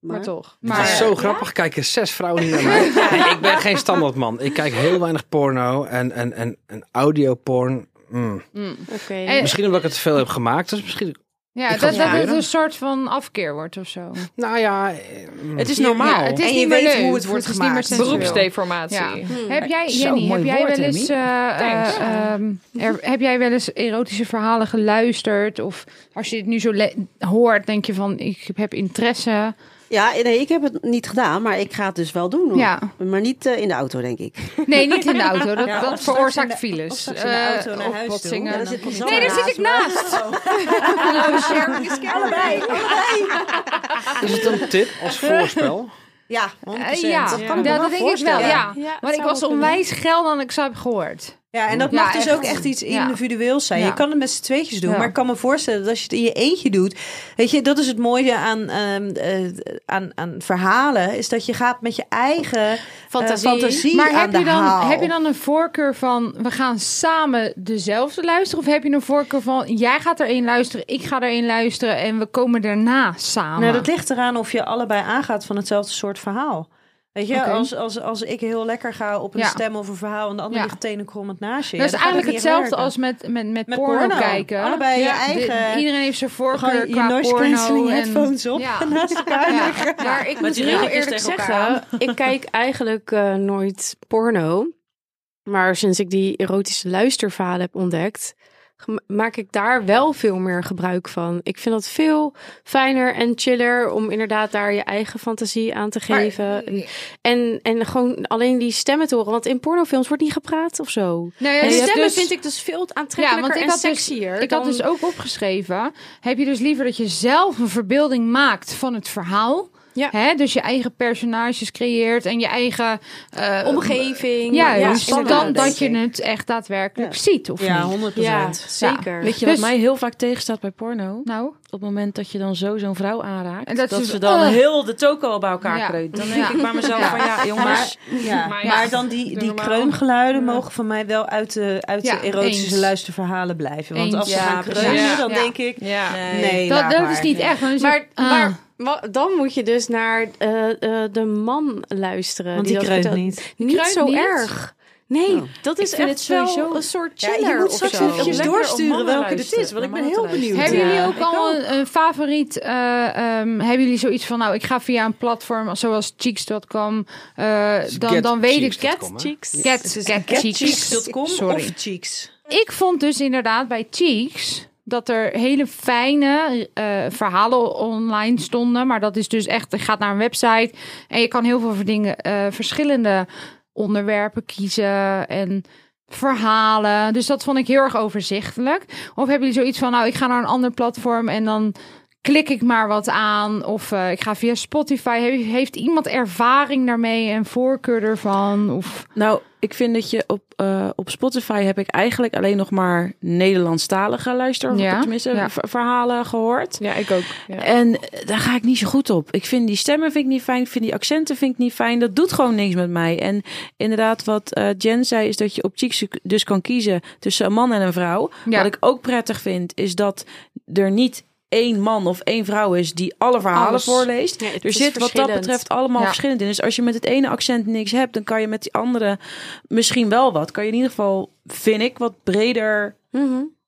Speaker 5: Maar-
Speaker 6: toch.
Speaker 4: Maar-
Speaker 8: het is zo grappig. Kijken zes vrouwen hier naar
Speaker 4: <laughs>
Speaker 8: mij. Nee, ik ben geen standaard man. Ik kijk heel weinig porno en, en, en, en audioporn. mm.
Speaker 4: Mm.
Speaker 2: Oké.
Speaker 4: En-
Speaker 8: Misschien omdat ik het te veel heb gemaakt. Dus misschien...
Speaker 4: Ja,
Speaker 8: Ik ga
Speaker 4: dat,
Speaker 8: het
Speaker 4: dat het
Speaker 8: proberen.
Speaker 4: een soort van afkeer wordt of zo.
Speaker 8: Nou ja... eh, mm.
Speaker 7: Het is normaal.
Speaker 4: Ja, het is
Speaker 3: En je
Speaker 4: niet meer
Speaker 3: weet
Speaker 4: leuk.
Speaker 3: hoe het wordt
Speaker 4: is niet meer
Speaker 3: gemaakt.
Speaker 4: sensueel.
Speaker 6: Beroepsdeformatie.
Speaker 4: Ja. Heb
Speaker 3: Hmm.
Speaker 4: jij,
Speaker 8: Zo,
Speaker 4: Jenny, heb
Speaker 8: mooi
Speaker 4: jij
Speaker 8: woord,
Speaker 4: wel eens, eh,
Speaker 6: Thanks.
Speaker 4: eh, ehm, er- heb jij wel eens erotische verhalen geluisterd? Of als je dit nu zo le- hoort, denk je van, ik heb interesse.
Speaker 5: Ja, nee, ik heb het niet gedaan, maar ik ga het dus wel doen. hoor.
Speaker 4: Ja.
Speaker 5: Maar niet eh, in de auto, denk ik.
Speaker 4: Nee, niet
Speaker 3: <laughs>
Speaker 4: in de auto. Dat,
Speaker 3: Ja,
Speaker 4: dat
Speaker 3: of straks in
Speaker 4: veroorzaakt
Speaker 3: de-
Speaker 4: files.
Speaker 3: of straks in de
Speaker 4: Eh,
Speaker 3: auto naar
Speaker 4: of
Speaker 3: huis toe.
Speaker 4: botsingen.
Speaker 3: Ja,
Speaker 5: daar
Speaker 4: Dan-
Speaker 5: zit Lisanne
Speaker 4: nee, daar zit ik naast.
Speaker 3: Oh.
Speaker 5: Hallo, Sharon
Speaker 4: <laughs>
Speaker 5: is Carol. Allebei.
Speaker 8: Is het een tip <laughs> als voorspel?
Speaker 5: Ja, 100%.
Speaker 4: Eh, ja,
Speaker 5: dat
Speaker 4: dat,
Speaker 5: kan ik me
Speaker 4: dat
Speaker 5: wel
Speaker 4: denk ik wel.
Speaker 5: voorstellen.
Speaker 4: Ja.
Speaker 2: Ja, het
Speaker 4: Want ik
Speaker 2: zou
Speaker 4: was
Speaker 2: wel kunnen.
Speaker 4: onwijs geil dan ik zou heb gehoord.
Speaker 3: Ja, en dat
Speaker 4: Ja,
Speaker 3: mag dus
Speaker 4: echt.
Speaker 3: ook echt iets
Speaker 4: Ja.
Speaker 3: individueels zijn.
Speaker 4: Ja.
Speaker 3: Je kan het met z'n tweetjes doen,
Speaker 4: Ja.
Speaker 3: maar ik kan me voorstellen dat als je het in je eentje doet. Weet je, dat is het mooie aan, ehm, eh, aan, aan verhalen, is dat je gaat met je eigen eh,
Speaker 2: Fantasie.
Speaker 3: fantasie
Speaker 4: Maar
Speaker 3: aan
Speaker 4: heb
Speaker 3: de
Speaker 4: je, dan,
Speaker 3: haal.
Speaker 4: heb je dan een voorkeur van we gaan samen dezelfde luisteren? Of heb je een voorkeur van jij gaat er één luisteren, ik ga er één luisteren en we komen daarna samen?
Speaker 3: Nou, dat ligt eraan of je allebei aangaat van hetzelfde soort verhaal. Weet je,
Speaker 4: Oké.
Speaker 3: als, als, als ik heel lekker ga op een
Speaker 4: Ja.
Speaker 3: stem of een verhaal en de ander
Speaker 4: Ja.
Speaker 3: ligt tenenkrommend naast je.
Speaker 4: Dat
Speaker 3: ja,
Speaker 4: is
Speaker 3: dan gaat het
Speaker 4: eigenlijk
Speaker 3: niet
Speaker 4: hetzelfde
Speaker 3: werken.
Speaker 4: als met, met, met,
Speaker 3: Met
Speaker 4: porno,
Speaker 3: porno.
Speaker 4: kijken.
Speaker 3: Allebei je
Speaker 4: de-
Speaker 3: eigen-
Speaker 4: iedereen heeft zijn voorkeur
Speaker 3: Gewoon je
Speaker 4: qua
Speaker 3: noise
Speaker 4: porno.
Speaker 3: cancelling
Speaker 4: en-
Speaker 3: headphones
Speaker 4: <laughs>
Speaker 3: op
Speaker 4: Ja.
Speaker 3: naast <laughs> elkaar.
Speaker 4: Ja.
Speaker 2: Maar ik
Speaker 7: Met
Speaker 2: moet
Speaker 7: die
Speaker 2: heel
Speaker 7: regeltjes
Speaker 2: eerlijk
Speaker 7: tegen
Speaker 2: zeggen,
Speaker 7: elkaar
Speaker 2: <laughs> ik kijk eigenlijk eh, nooit porno. Maar sinds ik die erotische luisterverhalen heb ontdekt, gem- maak ik daar wel veel meer gebruik van. Ik vind dat veel fijner en chiller om inderdaad daar je eigen fantasie aan te
Speaker 4: Maar-
Speaker 2: geven. en, en gewoon alleen die stemmen te horen. Want in pornofilms wordt niet gepraat of zo.
Speaker 4: Nou ja,
Speaker 2: En
Speaker 4: je hebt
Speaker 2: stemmen
Speaker 4: dus-
Speaker 2: vind ik dus veel aantrekkelijker en
Speaker 4: dus-
Speaker 2: sexier.
Speaker 4: ik had
Speaker 2: dan-
Speaker 4: dus ook opgeschreven. Heb je dus liever dat je zelf een verbeelding maakt van het verhaal?
Speaker 2: Ja.
Speaker 4: Hè? Dus je eigen personages creëert en je eigen eh,
Speaker 2: omgeving.
Speaker 4: Ja,
Speaker 5: Ja,
Speaker 4: juist.
Speaker 5: spannend,
Speaker 4: dan dat je
Speaker 5: denk ik.
Speaker 4: het echt daadwerkelijk ziet. Of niet?
Speaker 3: 100
Speaker 2: ja, zeker.
Speaker 7: Weet je wat
Speaker 4: Dus-
Speaker 7: mij heel vaak tegenstaat bij porno?
Speaker 4: Nou,
Speaker 7: Op het moment dat je dan zo zo'n vrouw aanraakt,
Speaker 4: En
Speaker 7: dat,
Speaker 4: dat oh, ze-
Speaker 7: ze dan
Speaker 4: Ugh.
Speaker 7: heel de toko al bij elkaar
Speaker 4: Ja.
Speaker 7: kreunt.
Speaker 4: <laughs>
Speaker 7: Dan denk
Speaker 4: Ja.
Speaker 7: ik bij mezelf
Speaker 4: Ja.
Speaker 7: van ja, jongens.
Speaker 3: Ja,
Speaker 6: Maar
Speaker 3: maar,
Speaker 6: ja,
Speaker 3: dan die,
Speaker 6: doe
Speaker 3: die
Speaker 6: normaal.
Speaker 3: kreungeluiden mogen van mij wel uit de, uit
Speaker 4: Ja,
Speaker 3: de erotische
Speaker 4: eens.
Speaker 3: luisterverhalen blijven. Want
Speaker 4: Eens.
Speaker 3: als ze
Speaker 4: Ja,
Speaker 3: gaan
Speaker 4: precies.
Speaker 3: kreunen,
Speaker 6: Ja.
Speaker 3: dan
Speaker 4: Ja.
Speaker 3: denk ik...
Speaker 6: Ja.
Speaker 3: Nee,
Speaker 4: dat,
Speaker 3: laat
Speaker 4: dat
Speaker 3: maar.
Speaker 4: is niet
Speaker 3: Nee.
Speaker 4: echt. dan is
Speaker 2: Maar,
Speaker 4: het- ah.
Speaker 2: maar wa- dan moet je dus naar eh, eh, de man luisteren.
Speaker 3: Want die
Speaker 2: dat
Speaker 3: kreunt
Speaker 2: vertelt.
Speaker 3: niet.
Speaker 2: Niet
Speaker 4: kreunt
Speaker 2: zo
Speaker 4: niet?
Speaker 2: erg. Nee, dat is
Speaker 7: Ik vind
Speaker 2: echt
Speaker 7: het sowieso-
Speaker 2: wel een soort
Speaker 3: Ja,
Speaker 2: chiller
Speaker 3: je moet
Speaker 2: of
Speaker 3: straks
Speaker 2: zo.
Speaker 3: eventjes
Speaker 7: Lekker Oh. om
Speaker 3: doorsturen
Speaker 7: mannen
Speaker 3: welke dit
Speaker 7: luisteren,
Speaker 3: is. Want ik
Speaker 7: naar
Speaker 3: ben heel
Speaker 7: mannen te
Speaker 3: benieuwd.
Speaker 4: Hebben
Speaker 3: Ja.
Speaker 4: jullie ook al een, een favoriet? eh, ehm, hebben jullie zoiets van, nou, ik ga via een platform zoals Cheeks.com. eh,
Speaker 8: Dus
Speaker 4: dan, dan weet ik.
Speaker 8: getcheeks.com,
Speaker 2: Cat
Speaker 8: hè?
Speaker 2: cheeks.
Speaker 4: Cat, cat, cheeks.
Speaker 3: Cheeks.com
Speaker 4: Sorry.
Speaker 3: of Cheeks.
Speaker 4: Ik vond dus inderdaad bij Cheeks dat er hele fijne eh, verhalen online stonden. Maar dat is dus echt, je gaat naar een website en je kan heel veel voor dingen, eh, verschillende onderwerpen kiezen en verhalen. Dus dat vond ik heel erg overzichtelijk. Of hebben jullie zoiets van, nou, ik ga naar een ander platform en dan klik ik maar wat aan. Of eh, ik ga via Spotify. He- heeft iemand ervaring daarmee en voorkeur ervan? Of...
Speaker 7: Nou, ik vind dat je op, eh, op Spotify heb ik eigenlijk alleen nog maar Nederlandstalige luister,
Speaker 4: Ja,
Speaker 7: tenminste
Speaker 4: ja.
Speaker 7: ver- verhalen gehoord.
Speaker 6: Ja, ik ook. Ja.
Speaker 7: En eh, daar ga ik niet zo goed op. Ik vind die stemmen vind ik niet fijn. Ik vind die accenten vind ik niet fijn. Dat doet gewoon niks met mij. En inderdaad, wat eh, Jen zei, is dat je op Cheeks dus kan kiezen tussen een man en een vrouw.
Speaker 4: Ja.
Speaker 7: Wat ik ook prettig vind, is dat er niet één man of één vrouw is die alle verhalen
Speaker 4: Alles.
Speaker 7: voorleest.
Speaker 2: Ja, het
Speaker 7: er
Speaker 2: is
Speaker 7: zit wat dat
Speaker 2: verschillend.
Speaker 7: betreft allemaal
Speaker 4: Ja.
Speaker 7: verschillend in. Dus als je met het ene accent niks hebt, dan kan je met die andere misschien wel wat. Kan je in ieder geval, vind ik, wat breder
Speaker 2: Mhm.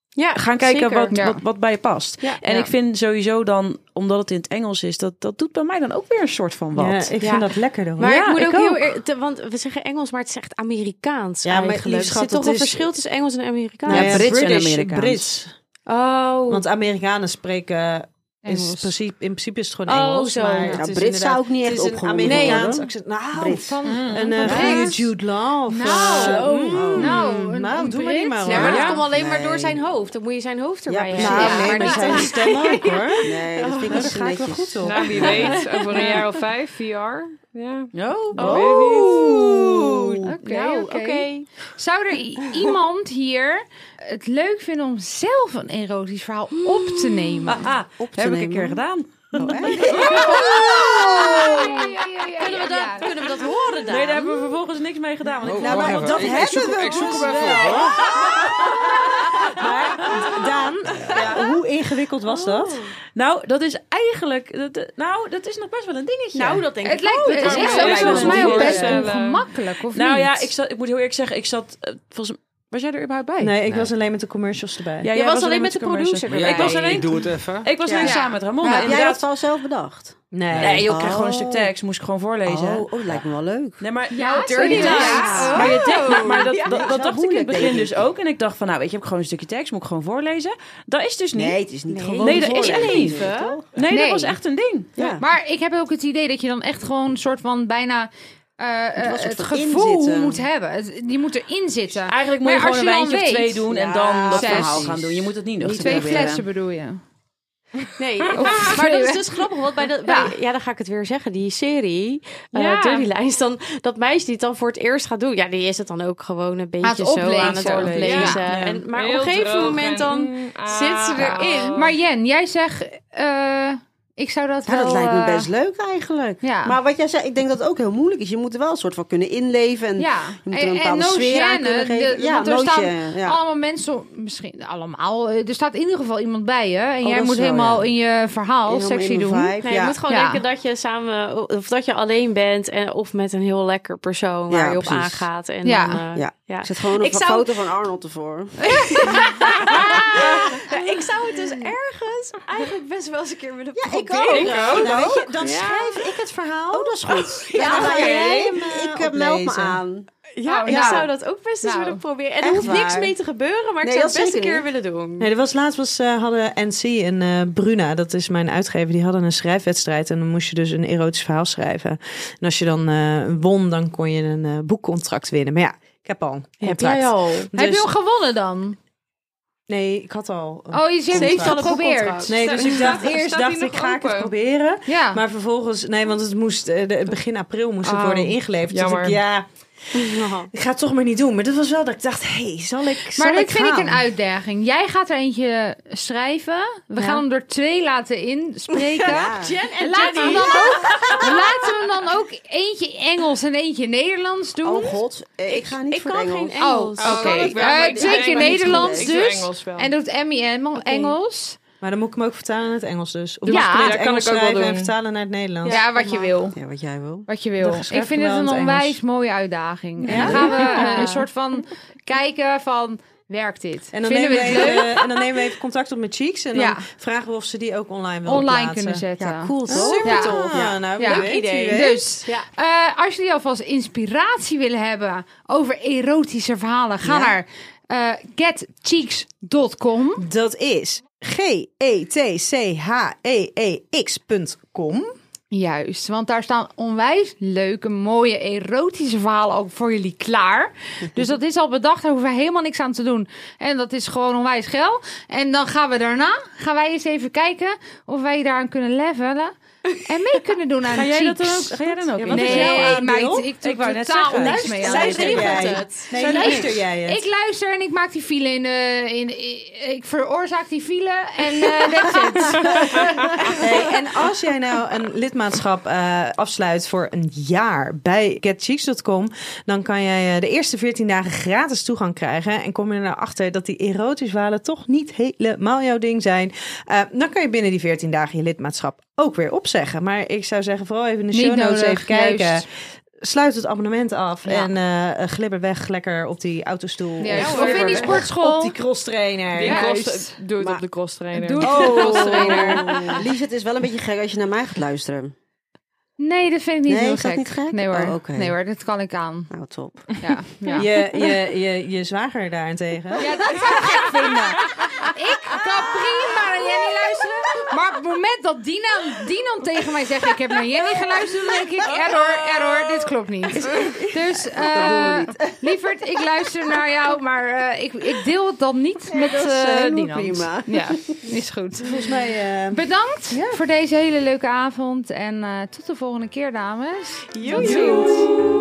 Speaker 2: Ja,
Speaker 7: gaan kijken
Speaker 2: zeker.
Speaker 7: wat,
Speaker 4: Ja.
Speaker 7: wat, wat bij je past.
Speaker 2: Ja.
Speaker 7: En
Speaker 4: Ja.
Speaker 7: ik vind sowieso dan, omdat het in het Engels is, dat, dat doet bij mij dan ook weer een soort van wat.
Speaker 3: Ja, ik vind
Speaker 2: Ja.
Speaker 3: dat lekkerder. hoor.
Speaker 2: Maar
Speaker 7: Ja,
Speaker 2: ik moet
Speaker 7: ik
Speaker 2: ook,
Speaker 7: ook.
Speaker 2: heel eer- te- want we zeggen Engels, maar het is echt Amerikaans.
Speaker 5: Ja, maar
Speaker 2: eigenlijk. Dus
Speaker 5: lief schat,
Speaker 2: er zit toch
Speaker 5: het
Speaker 2: een
Speaker 5: is-
Speaker 2: verschil tussen Engels en Amerikaans.
Speaker 5: Ja,
Speaker 3: Nou
Speaker 5: Brits en
Speaker 3: British-
Speaker 5: Amerikaans.
Speaker 3: Brits.
Speaker 2: Oh,
Speaker 3: Want Amerikanen spreken... Is
Speaker 4: Engels.
Speaker 3: principe, in principe is het gewoon
Speaker 2: Oh,
Speaker 3: Engels.
Speaker 2: zo.
Speaker 3: Maar
Speaker 2: Nou,
Speaker 3: het is
Speaker 5: Nou, Brits
Speaker 3: inderdaad-
Speaker 5: zou ik niet
Speaker 3: het
Speaker 5: echt
Speaker 3: is een
Speaker 5: opgewonden
Speaker 3: Amerikaans
Speaker 5: worden.
Speaker 3: accent. Nou,
Speaker 5: Brits.
Speaker 4: Van,
Speaker 3: Een eh, goede
Speaker 4: Brits.
Speaker 3: Jude Law. Of,
Speaker 4: Nou,
Speaker 3: eh,
Speaker 4: zo.
Speaker 3: mm,
Speaker 4: nou, een-
Speaker 3: nou,
Speaker 4: een
Speaker 3: doe maar niet
Speaker 4: Brit.
Speaker 3: maar hoor.
Speaker 2: ja, maar dat
Speaker 4: Ja.
Speaker 2: komt alleen maar door
Speaker 5: Nee.
Speaker 2: zijn hoofd. Dan moet je zijn hoofd
Speaker 5: Ja,
Speaker 2: erbij
Speaker 5: precies.
Speaker 2: hebben.
Speaker 3: Nou,
Speaker 5: Ja,
Speaker 3: nee,
Speaker 5: maar
Speaker 3: maar zijn
Speaker 5: dat-
Speaker 3: stem ook hoor.
Speaker 5: Nee, dat vind
Speaker 3: Nou,
Speaker 5: ik wel
Speaker 3: daar
Speaker 5: zo
Speaker 3: ga ik wel
Speaker 5: netjes.
Speaker 3: goed op.
Speaker 6: Nou, wie weet. Over een jaar of vijf, VR. Ja.
Speaker 3: Oh.
Speaker 4: Oké,
Speaker 2: Nou,
Speaker 4: oké. Zou er i- iemand hier het leuk vinden om zelf een erotisch verhaal op te nemen?
Speaker 7: Ah,
Speaker 5: Op te
Speaker 7: heb ik een
Speaker 5: nemen.
Speaker 7: keer gedaan.
Speaker 5: <laughs>
Speaker 2: Kunnen, we dat, kunnen we dat horen dan?
Speaker 7: Nee, daar hebben we vervolgens niks mee gedaan. Want ik
Speaker 8: Oh,
Speaker 7: vond-
Speaker 8: wacht
Speaker 5: maar
Speaker 8: even.
Speaker 5: dat
Speaker 8: ik, ik
Speaker 5: hebben
Speaker 8: zoek,
Speaker 5: we
Speaker 8: Ik zoek
Speaker 5: dus
Speaker 8: hem even op, hoor.
Speaker 3: Maar, Daan,
Speaker 5: eh,
Speaker 3: hoe ingewikkeld was dat?
Speaker 7: Nou, dat is eigenlijk... Dat, dat- nou, dat is nog best wel een dingetje.
Speaker 2: Nou, dat denk ik
Speaker 4: Het lijkt me,
Speaker 2: ook.
Speaker 4: het is
Speaker 2: lijkt
Speaker 4: echt
Speaker 2: me
Speaker 4: ook
Speaker 2: wel
Speaker 4: volgens mij
Speaker 2: leuk.
Speaker 4: ook best
Speaker 6: voorstellen.
Speaker 4: ongemakkelijk, of
Speaker 7: Nou
Speaker 4: niet?
Speaker 7: ja, ik, zat, ik moet heel eerlijk zeggen, ik zat... eh, volgens, was jij er überhaupt bij?
Speaker 3: Nee, ik was alleen met de commercials erbij.
Speaker 7: Ja,
Speaker 2: Je
Speaker 7: jij
Speaker 2: was alleen met de
Speaker 7: commercial.
Speaker 2: producer
Speaker 8: Maar
Speaker 2: erbij.
Speaker 7: Ik was
Speaker 8: jij-
Speaker 7: alleen-
Speaker 8: Ik doe het even.
Speaker 7: Ik was alleen
Speaker 4: Ja.
Speaker 7: samen met Ramon.
Speaker 5: Maar heb jij
Speaker 7: inderdaad.
Speaker 5: dat al zelf bedacht?
Speaker 7: Nee, joh, ik kreeg
Speaker 5: Oh.
Speaker 7: gewoon een stuk tekst. Moest ik gewoon voorlezen.
Speaker 5: Oh, oh, dat lijkt me wel leuk.
Speaker 7: Nee, maar nou,
Speaker 4: Ja,
Speaker 2: Dirty
Speaker 4: serieus?
Speaker 2: Dice.
Speaker 7: Maar, je denkt, maar, maar dat, dat,
Speaker 5: is
Speaker 7: dat
Speaker 5: wel
Speaker 7: dacht ik in het
Speaker 5: moeilijk,
Speaker 7: begin
Speaker 5: denk ik.
Speaker 7: dus ook. En ik dacht van, nou weet je, heb ik gewoon een stukje tekst, moet ik gewoon voorlezen. Dat is dus niet.
Speaker 5: Nee, het is niet gewoon
Speaker 7: Nee, dat is
Speaker 5: voorlezen,
Speaker 7: het niet.
Speaker 5: toch?
Speaker 7: Nee, dat
Speaker 4: Nee.
Speaker 7: was echt een ding.
Speaker 5: Ja.
Speaker 4: Maar ik heb ook het idee dat je dan echt gewoon een soort van bijna eh, eh,
Speaker 5: was een
Speaker 4: het
Speaker 5: soort
Speaker 4: gevoel
Speaker 5: inzitten.
Speaker 4: moet hebben. Het- Die moet erin zitten.
Speaker 7: Eigenlijk moet je
Speaker 4: Maar
Speaker 7: gewoon een
Speaker 4: als je dan
Speaker 7: wijntje of
Speaker 4: weet-
Speaker 7: twee doen en
Speaker 5: Ja,
Speaker 7: dan dat
Speaker 4: zes.
Speaker 7: verhaal gaan doen. Je moet het niet nuchter
Speaker 4: Die twee
Speaker 7: proberen.
Speaker 4: flessen bedoel je?
Speaker 2: <laughs>
Speaker 5: <laughs>
Speaker 2: Nee, maar dat is dus grappig. Want bij de, bij, ja.
Speaker 4: Ja.
Speaker 2: dan ga ik het weer zeggen. Die serie, eh
Speaker 6: Ja.
Speaker 2: Dirty Lines, dan, dat meisje die het dan voor het eerst gaat doen. Ja, die is het dan ook gewoon een beetje
Speaker 4: Aan het
Speaker 2: zo
Speaker 4: oplezen.
Speaker 2: aan het oplezen.
Speaker 7: Ja.
Speaker 2: En, maar op
Speaker 6: Heel
Speaker 2: een gegeven
Speaker 6: droog
Speaker 2: moment
Speaker 6: en,
Speaker 2: dan
Speaker 6: mm,
Speaker 2: zit ze
Speaker 6: ah.
Speaker 2: erin.
Speaker 4: Maar Jen, jij zegt, eh, ik zou dat
Speaker 5: Ja,
Speaker 4: wel...
Speaker 5: dat lijkt me
Speaker 4: eh,
Speaker 5: best leuk eigenlijk.
Speaker 4: ja.
Speaker 5: Maar wat jij zei, ik denk dat het ook heel moeilijk is. Je moet er wel een soort van kunnen inleven. En
Speaker 4: Ja,
Speaker 5: je moet er een bepaalde
Speaker 4: no
Speaker 5: sfeer aan
Speaker 4: gêne,
Speaker 5: kunnen
Speaker 4: de-
Speaker 5: geven. ja,
Speaker 4: want er
Speaker 5: nootje,
Speaker 4: staan
Speaker 5: ja.
Speaker 4: allemaal mensen, misschien allemaal, eh, er staat in ieder geval iemand bij je. En
Speaker 5: Oh,
Speaker 4: jij
Speaker 5: dat
Speaker 4: moet
Speaker 5: is wel,
Speaker 4: helemaal
Speaker 5: ja.
Speaker 4: in je verhaal
Speaker 5: Helemaal
Speaker 4: sexy
Speaker 5: in de
Speaker 4: doen.
Speaker 5: vibe,
Speaker 2: Nee,
Speaker 5: ja.
Speaker 2: je moet gewoon
Speaker 4: Ja.
Speaker 2: denken dat je samen of dat je alleen bent en of met een heel lekker persoon waar
Speaker 5: Ja,
Speaker 2: je op
Speaker 5: precies.
Speaker 2: aangaat. En
Speaker 4: Ja.
Speaker 2: dan, eh,
Speaker 5: Ja.
Speaker 2: ja. <laughs>
Speaker 5: Ik zet gewoon een
Speaker 2: Ik zou-
Speaker 5: foto van Arnold ervoor.
Speaker 2: Ja, <laughs> ik zou het dus ergens eigenlijk best wel eens een keer willen
Speaker 5: Ja, ik
Speaker 2: proberen.
Speaker 5: ook.
Speaker 6: ook.
Speaker 5: Nou, weet je, dan
Speaker 3: schrijf ik het verhaal.
Speaker 5: Oh, dat is goed.
Speaker 3: Ja,
Speaker 5: Dan ga jij
Speaker 3: oké.
Speaker 5: heen.
Speaker 3: Hem, eh,
Speaker 5: Ik eh, meld me
Speaker 3: oplezen.
Speaker 5: aan.
Speaker 2: Ja,
Speaker 4: Oh,
Speaker 2: ik
Speaker 4: nou.
Speaker 2: zou dat ook best eens
Speaker 4: Nou.
Speaker 2: willen proberen. En er
Speaker 5: Echt
Speaker 2: hoeft niks
Speaker 5: waar.
Speaker 2: mee te gebeuren, maar ik
Speaker 5: Nee,
Speaker 2: zou
Speaker 5: dat
Speaker 2: het best een
Speaker 5: zeker
Speaker 2: keer
Speaker 5: niet.
Speaker 2: willen doen.
Speaker 3: Nee, er was laatst was, eh, hadden NC en eh, Bruna, dat is mijn uitgever, die hadden een schrijfwedstrijd. En dan moest je dus een erotisch verhaal schrijven. En als je dan eh, won, dan kon je een eh, boekcontract winnen. Maar ja, ik heb al een contract.
Speaker 2: al?
Speaker 4: Heb
Speaker 3: Dus-
Speaker 4: je al gewonnen dan?
Speaker 3: Nee, ik had al. een-
Speaker 4: Oh, je ze heeft het
Speaker 2: al een
Speaker 4: geprobeerd.
Speaker 2: boekcontract.
Speaker 3: Nee, dus ik dacht
Speaker 6: Staat-
Speaker 3: eerst
Speaker 6: staat
Speaker 3: dacht
Speaker 6: die
Speaker 3: ik
Speaker 6: nog
Speaker 3: ga ik het
Speaker 6: open?
Speaker 3: proberen.
Speaker 4: Ja.
Speaker 3: Maar vervolgens, nee, want het moest eh, de- begin april moest het
Speaker 6: Oh,
Speaker 3: worden ingeleverd. Dus
Speaker 6: jammer.
Speaker 3: ik, ja, ik ga het toch maar niet doen. Maar dat was wel dat ik dacht, hé, hey, zal ik zal
Speaker 4: Oh. Maar
Speaker 3: ik
Speaker 4: dit vind ik
Speaker 3: gaan?
Speaker 4: een uitdaging. Jij gaat er eentje schrijven. We gaan hem er twee laten
Speaker 5: <laughs>
Speaker 4: inspreken.
Speaker 2: Jen en
Speaker 4: Laten, we hem
Speaker 2: Jenny.
Speaker 4: dan ook, laten we hem dan ook eentje Engels en eentje Nederlands doen.
Speaker 5: Oh god, eh, ik ga niet
Speaker 2: ik
Speaker 5: voor
Speaker 2: kan
Speaker 5: het Engels.
Speaker 2: geen Engels.
Speaker 4: Oh, oké.
Speaker 6: ik wel, maar
Speaker 4: Eh,
Speaker 6: ik-
Speaker 4: twee
Speaker 6: ik
Speaker 4: keer
Speaker 6: ben niet
Speaker 4: Nederlands
Speaker 6: goed in. Ik doe
Speaker 4: dus.
Speaker 6: Emmy wel.
Speaker 4: En doet Emmy en Engels.
Speaker 3: Maar dan moet ik hem ook vertalen naar het Engels dus. Of
Speaker 4: Ja,
Speaker 3: moet ik hem in
Speaker 4: dat
Speaker 3: het
Speaker 6: kan
Speaker 3: Engels
Speaker 6: ik ook wel
Speaker 3: schrijven en
Speaker 6: doen.
Speaker 3: vertalen naar het Nederlands.
Speaker 4: Ja, wat je wil.
Speaker 5: Ja, wat jij wil.
Speaker 4: Wat je wil.
Speaker 3: Dan
Speaker 4: Ik
Speaker 3: schrijf ik
Speaker 4: vind
Speaker 3: hem
Speaker 4: het
Speaker 3: wel
Speaker 4: een
Speaker 3: in het Engels.
Speaker 4: onwijs mooie uitdaging. En dan gaan we eh, een soort van kijken van, werkt dit?
Speaker 3: En dan,
Speaker 4: Vinden
Speaker 3: nemen
Speaker 4: we
Speaker 3: we
Speaker 4: het leuk?
Speaker 3: even, en dan nemen we even contact op met Cheeks. En dan
Speaker 4: Ja.
Speaker 3: vragen we of ze die ook online willen
Speaker 4: Online
Speaker 3: plaatsen.
Speaker 4: kunnen zetten.
Speaker 5: Cool toch?
Speaker 3: Super
Speaker 4: Ja.
Speaker 3: tof. Ja, nou, wie
Speaker 4: Ja.
Speaker 3: weet, wie
Speaker 2: Idee.
Speaker 3: weet.
Speaker 4: Dus,
Speaker 2: Ja.
Speaker 4: eh, als jullie alvast inspiratie willen hebben over erotische verhalen, ga naar eh, getcheeks.com.
Speaker 3: Dat is g-e-t-c-h-e-e-x.com.
Speaker 4: Juist, want daar staan onwijs leuke, mooie, erotische verhalen ook voor jullie klaar. Dus dat is al bedacht, daar hoeven we helemaal niks aan te doen. En dat is gewoon onwijs geil. En dan gaan we daarna, gaan wij eens even kijken of wij daaraan kunnen levelen. en mee kunnen doen aan
Speaker 7: Ga jij dat dan
Speaker 4: cheeks.
Speaker 7: ook? Ga jij dan ook? in?
Speaker 5: Wat is
Speaker 4: nee,
Speaker 5: jouw aandeel?
Speaker 4: meid, ik doe
Speaker 7: Ik wou net
Speaker 4: totaal
Speaker 7: zeggen.
Speaker 4: niks mee. aan
Speaker 5: Zij
Speaker 4: deze
Speaker 5: regelt
Speaker 4: dingen.
Speaker 5: jij.
Speaker 2: het.
Speaker 5: Nee,
Speaker 4: Zij
Speaker 5: luister jij het?
Speaker 4: Ik luister en ik maak die file in de... In, in- ik veroorzaak die file en eh that's it.
Speaker 3: Nee, en als jij nou een lidmaatschap eh, afsluit voor een jaar bij getcheeks.com, dan kan jij eh, de eerste 14 dagen gratis toegang krijgen. En kom je er nou achter dat die erotisch walen toch niet helemaal jouw ding zijn, eh, dan kan je binnen die 14 dagen je lidmaatschap ook weer opzeggen. Maar ik zou zeggen, vooral even in de
Speaker 4: Niet
Speaker 3: show notes
Speaker 4: nodig,
Speaker 3: even kijken.
Speaker 4: juist.
Speaker 3: Sluit het abonnement af
Speaker 4: Ja.
Speaker 3: en eh glibber weg lekker op die autostoel.
Speaker 4: Ja,
Speaker 3: of
Speaker 4: of in die
Speaker 3: op
Speaker 4: sportschool.
Speaker 3: die crosstrainer.
Speaker 4: Ja.
Speaker 6: cross-
Speaker 4: juist.
Speaker 6: doe het
Speaker 5: Maar-
Speaker 6: op de cross trainer.
Speaker 4: Doe het
Speaker 3: Oh.
Speaker 4: cross trainer.
Speaker 5: Lies, het is wel een beetje gek als je naar mij gaat luisteren.
Speaker 4: Nee, dat vind ik niet
Speaker 5: Nee,
Speaker 4: heel
Speaker 5: is dat
Speaker 4: gek.
Speaker 5: niet gek?
Speaker 4: Nee hoor.
Speaker 5: Oh, oké.
Speaker 4: nee hoor, dat kan ik aan.
Speaker 5: Nou, top.
Speaker 4: <laughs> Ja, ja.
Speaker 3: Je, je, je, je zwager daarentegen.
Speaker 4: Ja, dat zou ik gek vinden. Ik kan prima naar Jenny luisteren. Maar op het moment dat Dina, Dinan tegen mij zegt... ik heb naar Jenny geluisterd, dan denk ik... error, error, dit klopt niet.
Speaker 5: <laughs>
Speaker 4: Dus, eh lieverd, ik luister naar jou... maar eh, ik, ik deel het dan niet met eh
Speaker 5: helemaal
Speaker 4: Dinan.
Speaker 5: prima.
Speaker 4: Ja, is goed.
Speaker 3: Volgens mij... eh,
Speaker 4: Bedankt voor deze hele leuke avond. En eh, tot de volgende keer, dames.
Speaker 3: Tot ziens.